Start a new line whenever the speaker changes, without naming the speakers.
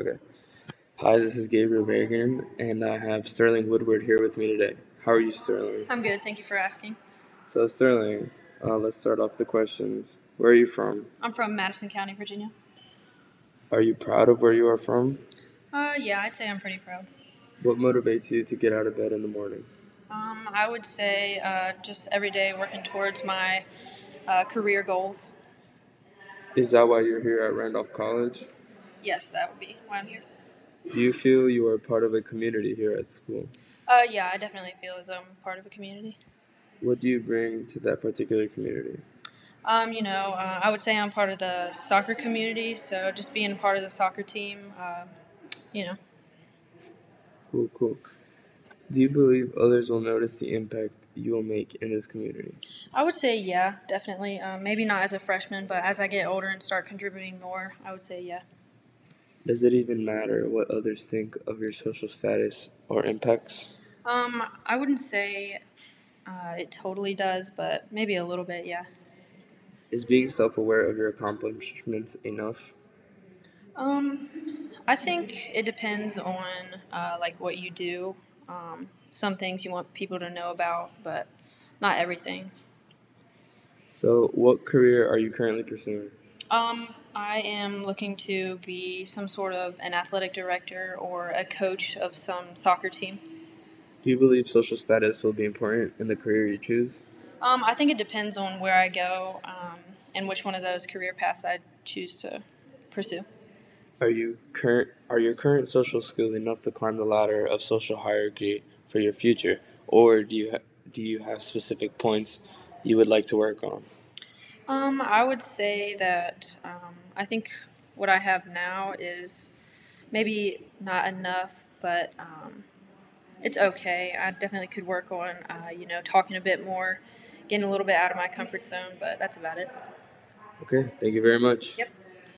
Okay. Hi, this is Gabriel Bergen, and I have Sterling Woodward here with me today. How are you, Sterling?
I'm good. Thank you for asking.
So, Sterling, uh, let's start off the questions. Where are you from?
I'm from Madison County, Virginia.
Are you proud of where you are from?
Uh, yeah, I'd say I'm pretty proud.
What motivates you to get out of bed in the morning?
Um, I would say uh, just every day working towards my uh, career goals.
Is that why you're here at Randolph College?
Yes, that would be why I'm here.
Do you feel you are part of a community here at school?
Uh, yeah, I definitely feel as though I'm part of a community.
What do you bring to that particular community?
Um, you know, uh, I would say I'm part of the soccer community, so just being a part of the soccer team, uh, you know.
Cool, cool. Do you believe others will notice the impact you will make in this community?
I would say, yeah, definitely. Um, maybe not as a freshman, but as I get older and start contributing more, I would say, yeah.
Does it even matter what others think of your social status or impacts?
Um, I wouldn't say uh, it totally does, but maybe a little bit, yeah.
Is being self aware of your accomplishments enough?
Um, I think it depends on uh, like what you do. Um, some things you want people to know about, but not everything.
So, what career are you currently pursuing?
Um, I am looking to be some sort of an athletic director or a coach of some soccer team.
Do you believe social status will be important in the career you choose?
Um, I think it depends on where I go um, and which one of those career paths I choose to pursue.
Are you current are your current social skills enough to climb the ladder of social hierarchy for your future, or do you ha- do you have specific points you would like to work on?
Um, I would say that um, I think what I have now is maybe not enough, but um, it's okay. I definitely could work on, uh, you know, talking a bit more, getting a little bit out of my comfort zone, but that's about it.
Okay, thank you very much.
Yep.